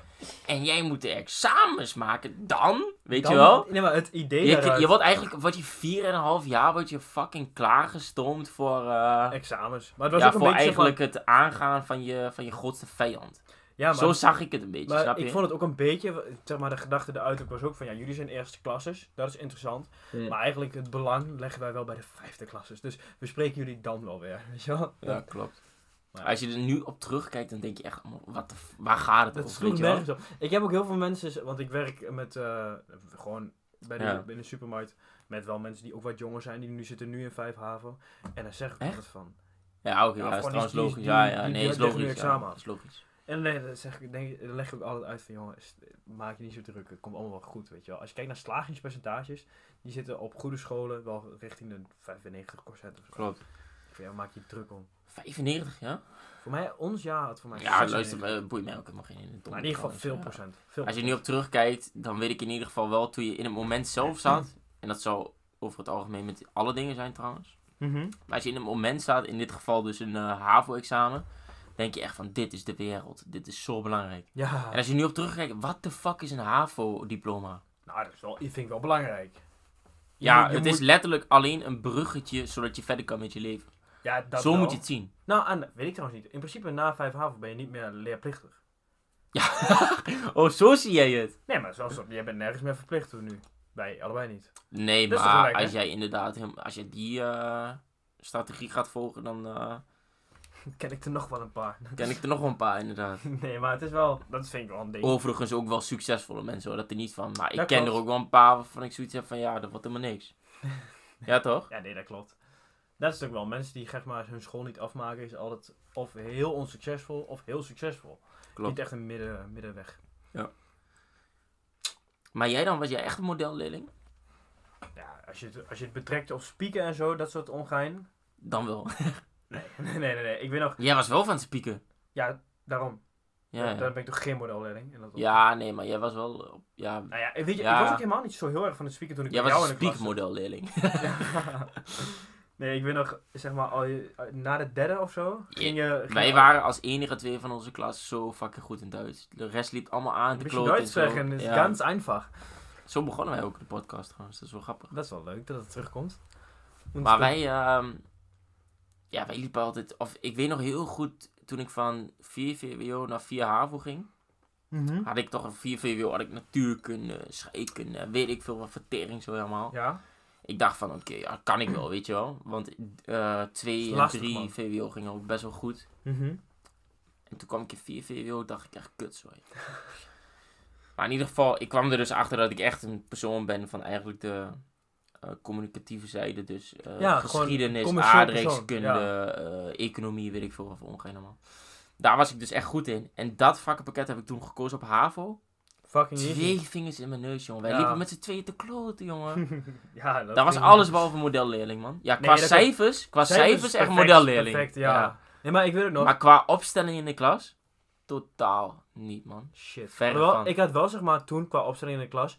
S1: en jij moet de examens maken, dan, weet
S2: Dan-
S1: je wel?
S2: Nee, maar het idee
S1: Je, k-
S2: daaruit-
S1: je wordt eigenlijk, wat je vier en een half jaar, wordt je fucking klaargestoomd voor, eh,
S2: examens. Maar het was
S1: ja,
S2: ook een
S1: voor
S2: beetje zeg maar-
S1: eigenlijk het aangaan van je, van je grootste vijand.
S2: ja, maar,
S1: Zo zag ik het een beetje,
S2: maar
S1: snap je?
S2: ik vond het ook een beetje, zeg maar de gedachte eruit was ook van ja, jullie zijn eerste klasses, dat is interessant.
S1: Ja.
S2: Maar eigenlijk het belang leggen wij wel bij de vijfde klasses. Dus we spreken jullie dan wel weer, weet je wel.
S1: Ja, klopt.
S2: Maar-
S1: Als je er nu op terugkijkt, dan denk je echt, "Man, wat de f- waar gaat het
S2: Dat
S1: over? Weet
S2: sloeg
S1: je wel?
S2: nergens op. Ik heb ook heel veel mensen, want ik werk met eh, gewoon bij de,
S1: Ja.
S2: in de supermarkt met wel mensen die ook wat jonger zijn, die nu zitten nu in vijf haven. En daar zeg ik
S1: Echt?
S2: altijd van.
S1: Ja, oké,
S2: Ja,
S1: ja, dat is
S2: gewoon die-
S1: trouwens logisch.
S2: die-
S1: ja,
S2: die-
S1: ja,
S2: die
S1: nee, is
S2: direct nu
S1: logisch. Ja,
S2: examen
S1: dat is logisch.
S2: En nee, dan, zeg ik, denk, dan leg ik ook altijd uit van jongen, st- maak je niet zo druk, het komt allemaal wel goed, weet je wel. Als je kijkt naar slagingspercentages, die zitten op goede scholen wel richting de 95 of zo.
S1: Klopt.
S2: Ik vind, ja, maak je niet druk om.
S1: 95, ja?
S2: Voor mij, ons jaar had voor mij
S1: Ja,
S2: 96.
S1: luister, eh, boeit mij ook helemaal geen in
S2: Maar in ieder geval veel procent. Veel
S1: Als je nu op terugkijkt, dan weet ik in ieder geval wel toen je in het moment zelf zat. En dat zal over het algemeen met alle dingen zijn trouwens.
S2: Mhm.
S1: Maar als je in het moment staat, in dit geval dus een eh, HAVO-examen, denk je echt van dit is de wereld. Dit is zo belangrijk.
S2: Ja,
S1: En als je nu op terugkijkt, wat de fuck is een HAVO-diploma?
S2: nou dat is wel, vind ik wel belangrijk. Je
S1: Ja,
S2: moet- je
S1: het
S2: moet-
S1: is letterlijk alleen een bruggetje zodat je verder kan met je leven.
S2: Ja, dat
S1: Zo
S2: wel.
S1: moet je het zien.
S2: Nou, aan, weet ik trouwens niet. In principe na 5 HAVO ben je niet meer leerplichtig.
S1: Oh, zo zie jij het.
S2: Nee, maar zoals, jij bent nergens meer verplicht toen nu. Wij allebei niet.
S1: Nee,
S2: Dat is toch
S1: maar
S2: gelijk, hè?
S1: als jij inderdaad hem- als jij die eh, strategie gaat volgen, dan eh,
S2: Ken ik er nog wel een paar.
S1: ken ik er nog wel een paar inderdaad.
S2: nee, maar het is wel... Dat vind ik wel een ding.
S1: Overigens ook wel succesvolle mensen hoor, dat er niet van. Maar ik
S2: Dat
S1: ken
S2: klopt.
S1: er ook wel een paar waarvan ik zoiets heb van ja, dat wordt helemaal niks. Ja toch?
S2: Ja, nee, dat klopt. Dat is ook wel. Mensen die zeg maar hun school niet afmaken is altijd of heel onsuccesvol of heel succesvol.
S1: Klopt.
S2: Niet echt een midden, middenweg.
S1: Maar jij dan, was jij echt een modelleerling?
S2: Ja, als je, het, als je het betrekt op spieken en zo, dat soort ongein.
S1: Dan wel.
S2: Nee, nee, nee, nee. Ik weet nog...
S1: jij was wel van het spieken.
S2: Ja, daarom.
S1: Ja,
S2: Dan
S1: ja.
S2: ben ik toch geen modelleerling. in dat opzicht.
S1: ja, nee, maar jij was wel. eh, Ja,
S2: Nou ja, weet je,
S1: Ja.
S2: ik was ook helemaal niet zo heel erg van het spieken toen ik
S1: jij
S2: bij jou
S1: was
S2: in
S1: een
S2: de klas zat.
S1: spiekmodelleerling.
S2: Ja. Nee, ik weet nog, zeg maar, al, je- na de derde of zo, ging je... ging
S1: Wij
S2: je-
S1: waren als enige twee van onze klas zo fucking goed in Duits. De rest liep allemaal aan te
S2: Moet je
S1: kloten. en
S2: Duits
S1: zo.
S2: zeggen, is
S1: Ja.
S2: ganz einfach.
S1: Zo begonnen wij ook de podcast trouwens, dat is wel grappig.
S2: Dat is wel leuk dat het terugkomt. Want
S1: Maar
S2: het-
S1: wij, ehm, ja, wij liepen altijd, of ik weet nog heel goed, toen ik van 4 VWO naar 4 HAVO ging,
S2: Mhm.
S1: had ik toch een 4 VWO, had ik natuurkunde, scheikunde, weet ik veel wat, vertering zo helemaal.
S2: Ja,
S1: Ik dacht van, oké, ja, kan ik wel, weet je wel. Want eh
S2: Is
S1: 2 en
S2: lastig,
S1: 3
S2: man.
S1: VWO gingen ook best wel goed.
S2: Mhm.
S1: En toen kwam ik in 4 VWO, dacht ik echt, kut, sorry. maar in ieder geval, ik kwam er dus achter dat ik echt een persoon ben van eigenlijk de eh, communicatieve zijde. Dus eh,
S2: Ja, gewoon
S1: geschiedenis,
S2: commercieel
S1: aardrijkskunde, eh, economie, weet ik veel wat voor ongein allemaal. Daar was ik dus echt goed in. En dat vakkenpakket heb ik toen gekozen op HAVO.
S2: fucking
S1: Twee
S2: easy.
S1: vingers in mijn neus, jongen. Wij
S2: Ja.
S1: liepen met z'n tweeën te kloten, jongen.
S2: ja, dat
S1: Dat was
S2: ging-
S1: alles behalve modelleerling, man. Ja, qua
S2: dat kan-
S1: cijfers, qua cijfers, echt
S2: perfect,
S1: modelleerling.
S2: Perfect, ja. Nee, maar ik weet het nog.
S1: Maar qua opstelling in de klas, totaal niet, man.
S2: Shit.
S1: Verre
S2: Alhoewel,
S1: van.
S2: ik had wel, zeg maar, toen qua opstelling in de klas,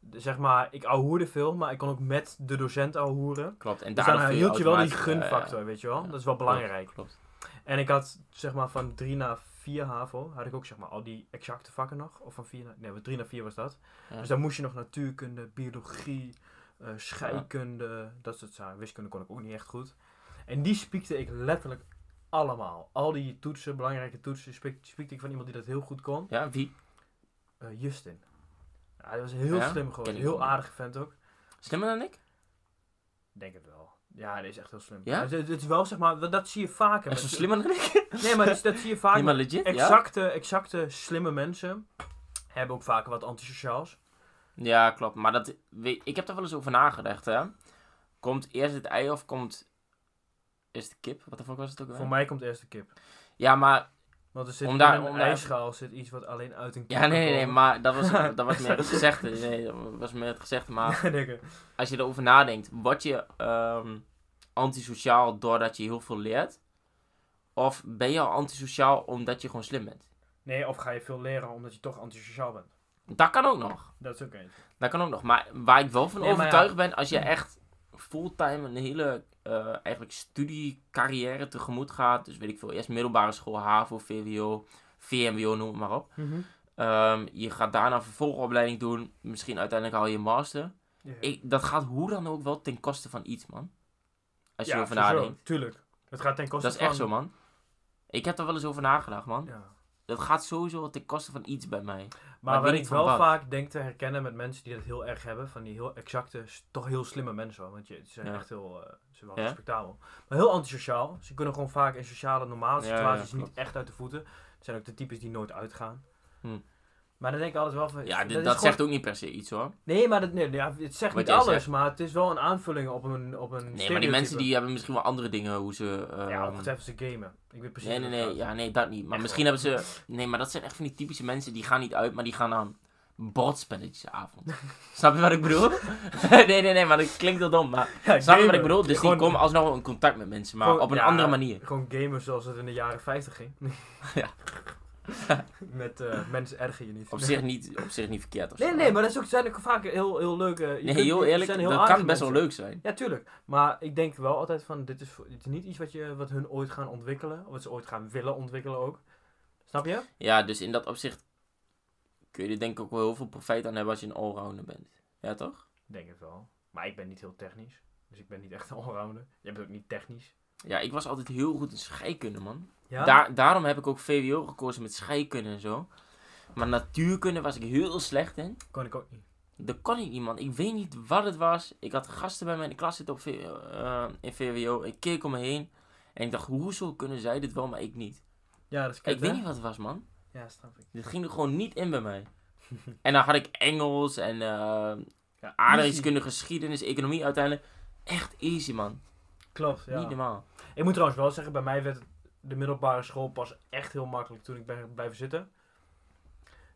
S2: de- zeg maar, ik ouwehoerde veel, maar ik kon ook met de docent ouwehoeren.
S1: Klopt. En
S2: Dus
S1: daardoor
S2: dan
S1: viel
S2: hield je wel die
S1: automatisch, eh,
S2: gunfactor, weet je wel.
S1: ja.
S2: Dat is wel belangrijk.
S1: Klopt.
S2: En ik had zeg maar van 3 naar 4 HAVO, had ik ook zeg maar al die exacte vakken nog. Of van 4 naar, nee, van 3 naar 4 was dat.
S1: Ja.
S2: Dus dan moest je nog natuurkunde, biologie, eh, scheikunde, dat soort zaken. Wiskunde kon ik ook niet echt goed. En die spiekte ik letterlijk allemaal. Al die toetsen, belangrijke toetsen, spiek- spiekte ik van iemand die dat heel goed kon.
S1: Ja, wie?
S2: Eh, Justin. Ja, dat was een heel
S1: Ja?
S2: slim gozer.
S1: Ken ik
S2: Heel
S1: ook niet.
S2: aardige vent ook.
S1: Slimmer dan ik?
S2: Denk het wel. Ja, dat is echt heel slim.
S1: Ja?
S2: Het, het is wel zeg maar, dat, dat zie je vaker.
S1: Echt zo
S2: met-
S1: slimmer dan ik?
S2: Nee, maar dat, dat zie je vaak.
S1: Nee, maar legit? Ja,
S2: exacte, exacte slimme mensen hebben ook vaker wat antisociaals.
S1: ja klopt. Maar dat, weet- ik heb daar wel eens over nagedacht, hè. Komt eerst het ei of komt eerst de kip? Wat de fuck was het ook weer?
S2: Voor mij komt eerst de kip.
S1: Ja, maar...
S2: Want er zit
S1: Om
S2: in
S1: daar-
S2: een
S1: om daar-
S2: ijsschaal zit iets wat alleen uit een kip
S1: Ja, nee,
S2: kan
S1: nee, nee,
S2: komen.
S1: maar dat was, dat was meer het gezegde. Nee, dat was meer het gezegde, maar...
S2: Denken.
S1: als je erover nadenkt, word je ehm, antisociaal doordat je heel veel leert? Of ben je al antisociaal omdat je gewoon slim bent?
S2: Nee, of ga je veel leren omdat je toch antisociaal bent.
S1: Dat kan ook nog.
S2: Dat is ook eentje.
S1: Dat kan ook nog. Maar waar ik wel van
S2: Nee, maar
S1: overtuigd ben, als je echt fulltime een hele eh eigenlijk studiecarrière tegemoet gaat. Dus weet ik veel, eerst middelbare school, HAVO, VWO, VMBO, noem het maar op. Ehm, je gaat daarna een vervolgopleiding doen. Misschien uiteindelijk haal je een master.
S2: Ja.
S1: Ik, dat gaat hoe dan ook wel ten koste van iets, man. Als je
S2: ja,
S1: erover
S2: sowieso,
S1: nadenkt.
S2: Tuurlijk. Het gaat ten koste
S1: Dat is echt
S2: van-
S1: zo, man. Ik heb er wel eens over nagedacht, man.
S2: Ja.
S1: Dat gaat sowieso ten koste van iets bij mij.
S2: Maar,
S1: ik weet
S2: wat
S1: niet
S2: ik
S1: van
S2: wel
S1: wat.
S2: vaak denk te herkennen met mensen die dat heel erg hebben, van die heel exacte, s- toch heel slimme mensen, hoor, want je, ze zijn
S1: Ja.
S2: echt heel, eh, ze zijn wel
S1: Ja?
S2: respectabel. Maar heel antisociaal. Ze kunnen gewoon vaak in sociale, normale
S1: Ja, ja,
S2: situaties niet
S1: klopt.
S2: echt uit de voeten. Het zijn ook de types die nooit uitgaan.
S1: Hm.
S2: Maar dan denk ik altijd wel
S1: Ja,
S2: van...
S1: dit- dat,
S2: is gewoon-
S1: zegt ook niet per se iets hoor.
S2: Nee, maar dat, nee, ja, het zegt
S1: Wat
S2: niet
S1: jij
S2: alles, maar het is wel een aanvulling op een op een
S1: Nee, maar die
S2: stereotype.
S1: mensen die hebben misschien wel andere dingen hoe ze. ehm,
S2: Ja, ongetwijfeld ze gamen. Ik weet precies
S1: nee, nee,
S2: wat
S1: nee,
S2: het gaat.
S1: ja, nee, dat niet. Maar
S2: Echt
S1: misschien hebben ze. Nee, maar dat zijn echt van die typische mensen die gaan niet uit, maar die gaan aan bordspelletjesavond. Snap je wat ik bedoel? nee, nee, nee, maar dat klinkt heel dom. Maar snap
S2: Ja,
S1: je wat
S2: gamen.
S1: ik bedoel? Dus
S2: Gewoon-
S1: die komen alsnog wel in contact met mensen, maar
S2: Gewoon-
S1: op een
S2: ja,
S1: andere manier.
S2: Gewoon gamers zoals het in de jaren 50 ging.
S1: Ja.
S2: Met eh, mensen erger je niet.
S1: Op zich niet, op zich niet verkeerd of
S2: Nee,
S1: zo.
S2: nee, maar dat is ook, zijn ook vaak heel, heel leuk. eh, je
S1: Nee,
S2: kunt-
S1: heel
S2: het
S1: eerlijk,
S2: zijn heel
S1: dat
S2: aardige
S1: kan best wel
S2: mensen.
S1: leuk zijn.
S2: Ja, tuurlijk. Maar ik denk wel altijd van, dit is, voor- dit is niet iets wat, je, wat hun ooit gaan ontwikkelen. Of wat ze ooit gaan willen ontwikkelen ook. Snap je?
S1: Ja, dus in dat opzicht kun je er denk ik ook wel heel veel profijt aan hebben als je een allrounder bent. Ja, toch?
S2: Ik denk het wel. Maar ik ben niet heel technisch. Dus ik ben niet echt een allrounder. Jij bent ook niet technisch.
S1: Ja, ik was altijd heel goed in scheikunde, man.
S2: Ja?
S1: Daar, daarom heb ik ook VWO gekozen met scheikunde en zo. Maar natuurkunde was ik heel slecht in.
S2: Kon ik ook niet.
S1: Dat kon ik niet, man. Ik weet niet wat het was. Ik had gasten bij mij in de klas zitten op V- eh, in VWO. Ik keek om me heen. En ik dacht, hoezo kunnen zij dit wel, maar ik niet?
S2: Ja, dat is
S1: ik weet niet wat het was, man.
S2: Ja, snap ik.
S1: Dit ging er gewoon niet in bij mij. en dan had ik Engels en eh,
S2: Ja,
S1: aardrijkskunde, geschiedenis, economie uiteindelijk. Echt easy, man.
S2: Klopt, ja.
S1: Niet normaal.
S2: Ik moet trouwens wel zeggen, bij mij werd de middelbare school pas echt heel makkelijk toen ik ben blijven zitten.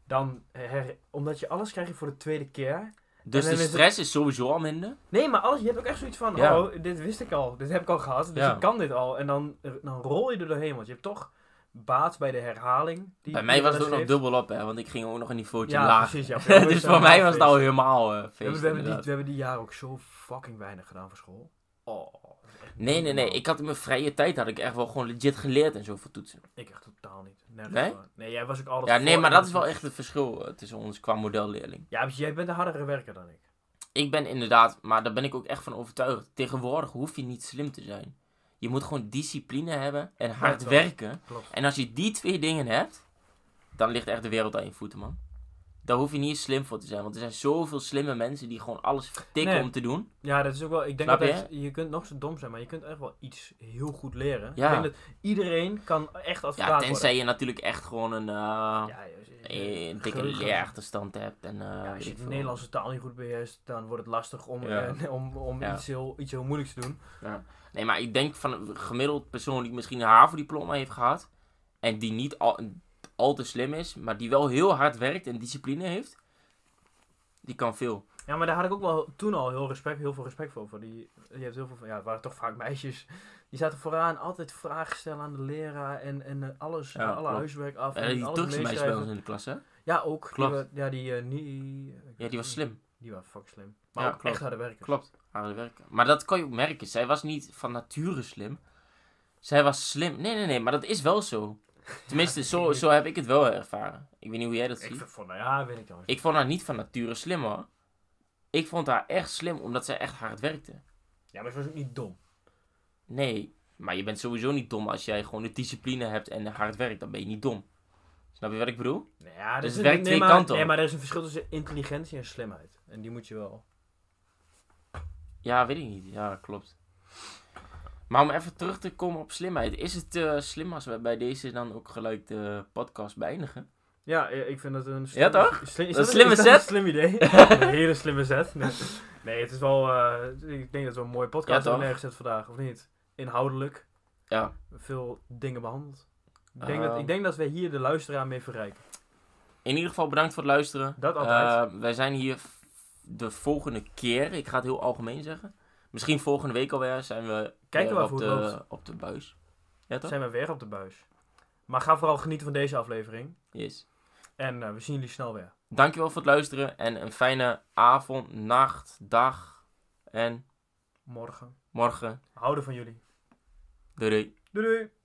S2: Dan, eh, her- omdat je alles krijg je voor de tweede keer.
S1: Dus
S2: dan
S1: de
S2: is het-
S1: stress is sowieso al minder.
S2: Nee, maar alles, je hebt ook echt zoiets van,
S1: Ja.
S2: oh, dit wist ik al, dit heb ik al gehad, dus
S1: Ja.
S2: ik kan dit al. En dan, eh, dan rol je er doorheen, want je hebt toch baat bij de herhaling. die-
S1: Bij
S2: die
S1: mij was het
S2: les
S1: ook nog
S2: heeft.
S1: dubbel op, hè, want ik ging ook nog een niveautje
S2: Ja,
S1: laag.
S2: precies. Ja,
S1: dus voor mij was het al helemaal eh
S2: We hebben,
S1: feest,
S2: we, hebben die,
S1: inderdaad.
S2: we hebben die jaren ook zo fucking weinig gedaan voor school. Oh. dat is echt
S1: Nee, nee, nee.
S2: normaal.
S1: Ik had in mijn vrije tijd had ik echt wel gewoon legit geleerd en zo voor toetsen.
S2: Ik echt totaal niet. Nergens
S1: Nee?
S2: voor. Nee, jij was ook altijd
S1: Ja, nee,
S2: voor
S1: maar
S2: en
S1: dat is wel
S2: toen-
S1: echt het verschil eh, tussen ons qua modelleerling.
S2: Ja, maar jij bent een hardere werker dan ik.
S1: Ik ben inderdaad, maar daar ben ik ook echt van overtuigd. Tegenwoordig hoef je niet slim te zijn. Je moet gewoon discipline hebben en hard
S2: dat-
S1: werken.
S2: Klopt.
S1: En als je die twee dingen hebt, dan ligt echt de wereld aan je voeten, man. Daar hoef je niet eens slim voor te zijn, want er zijn zoveel slimme mensen die gewoon alles vertikken
S2: Nee.
S1: om te doen.
S2: Ja, dat is ook wel. Ik denk
S1: Snap
S2: dat
S1: je?
S2: het- je kunt nog zo dom zijn, maar je kunt echt wel iets heel goed leren.
S1: Ja.
S2: Ik denk dat iedereen kan echt advocaat
S1: Ja,
S2: worden.
S1: tenzij je natuurlijk echt gewoon een, eh,
S2: Ja, je- je-
S1: eh, een dikke
S2: geheugen.
S1: leerachterstand hebt. En, eh,
S2: Ja,
S1: weet
S2: als je
S1: ik
S2: de
S1: veel.
S2: Nederlandse taal niet goed beheerst, dan wordt het lastig om,
S1: Ja.
S2: eh, om, om
S1: Ja.
S2: iets, heel, iets heel moeilijks te doen.
S1: Nee, maar ik denk van een gemiddeld persoon die misschien een HAVO-diploma heeft gehad. En die niet al, al te slim is, maar die wel heel hard werkt en discipline heeft. Die kan veel.
S2: Ja, maar daar had ik ook wel toen al heel, respect, heel veel respect voor. voor die, je hebt heel veel, van- ja, het waren toch vaak meisjes. Die zaten vooraan altijd vragen stellen aan de leraar en, en eh, alles,
S1: Ja,
S2: alle
S1: klopt.
S2: huiswerk af.
S1: En Eh, die
S2: alles
S1: drukste meisjes bij
S2: meeschrijven.
S1: ons in de klas, hè?
S2: Ja, ook. Die
S1: Klopt.
S2: wa- ja, die eh, niet.
S1: Ja, die was slim.
S2: Die waren fucking slim. Maar
S1: Ja,
S2: ook
S1: klopt.
S2: echt harde werkers.
S1: Klopt, harde werken. Maar dat kan je ook merken. Zij was niet van nature slim. Zij was slim. Nee, nee, nee, maar dat is wel zo. Tenminste, zo, zo heb ik het wel ervaren. Ik weet niet hoe jij dat
S2: Ik
S1: ziet.
S2: vind van, nou ja, weet ik dan.
S1: Ik vond haar niet van nature slim hoor. Ik vond haar echt slim omdat zij echt hard werkte.
S2: Ja, maar ze was ook niet dom.
S1: Nee, maar je bent sowieso niet dom als jij gewoon de discipline hebt en hard werkt. Dan ben je niet dom. Snap je wat ik bedoel?
S2: Nou ja, er
S1: Dus
S2: is
S1: het
S2: een-
S1: werkt
S2: nee,
S1: twee
S2: maar,
S1: kanten op.
S2: Nee, maar er is een verschil tussen intelligentie en slimheid. En die moet je wel.
S1: Ja, weet ik niet. Ja, klopt. Maar om even terug te komen op slimheid. Is het eh, slim als we bij deze dan ook gelijk de podcast beëindigen?
S2: Ja, eh, ik vind dat een
S1: Ja, toch?
S2: Slim, is
S1: een
S2: dat-
S1: slimme
S2: is dat
S1: zet.
S2: Een slim idee. een hele slimme zet. Nee, nee het is wel. eh, ik denk dat we een mooie
S1: Ja,
S2: podcast
S1: toch?
S2: hebben neergezet vandaag, of niet? Inhoudelijk.
S1: Ja.
S2: Veel dingen behandeld. Ik denk, dat,
S1: Ehm.
S2: ik denk dat we hier de luisteraar mee verrijken.
S1: In ieder geval bedankt voor het luisteren.
S2: Dat altijd.
S1: Eh, wij zijn hier v- de volgende keer. Ik ga het heel algemeen zeggen. Misschien volgende week alweer zijn we
S2: Kijken we
S1: weer
S2: af
S1: op,
S2: hoe het
S1: de, op de buis. Ja toch?
S2: Zijn we weer op de buis. Maar ga vooral genieten van deze aflevering.
S1: Yes.
S2: En eh, we zien jullie snel weer.
S1: Dankjewel voor het luisteren. En een fijne avond, nacht, dag en
S2: Morgen.
S1: morgen.
S2: Houden van jullie.
S1: Doei doei.
S2: Doei doei!